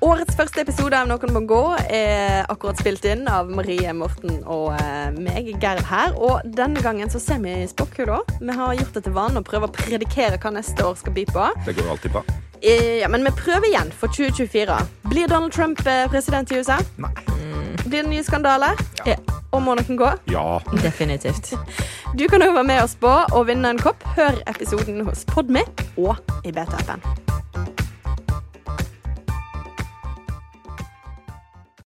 Årets første episode av Noen må gå er akkurat spilt inn av Marie Morten og eh, meg, Gerd her. Og denne gangen så ser vi i spåkula. Vi har gjort det til vanen å prøve å predikere hva neste år skal by på. Det går jo alltid bra. Eh, Ja, men vi prøver igjen for 2024. Blir Donald Trump eh, president i USA? Nei. Blir det nye skandaler? Ja. Eh, Og må noen gå? Ja. Definitivt. Du kan òg være med og spå og vinne en kopp. Hør episoden hos Podmy og i BT-appen.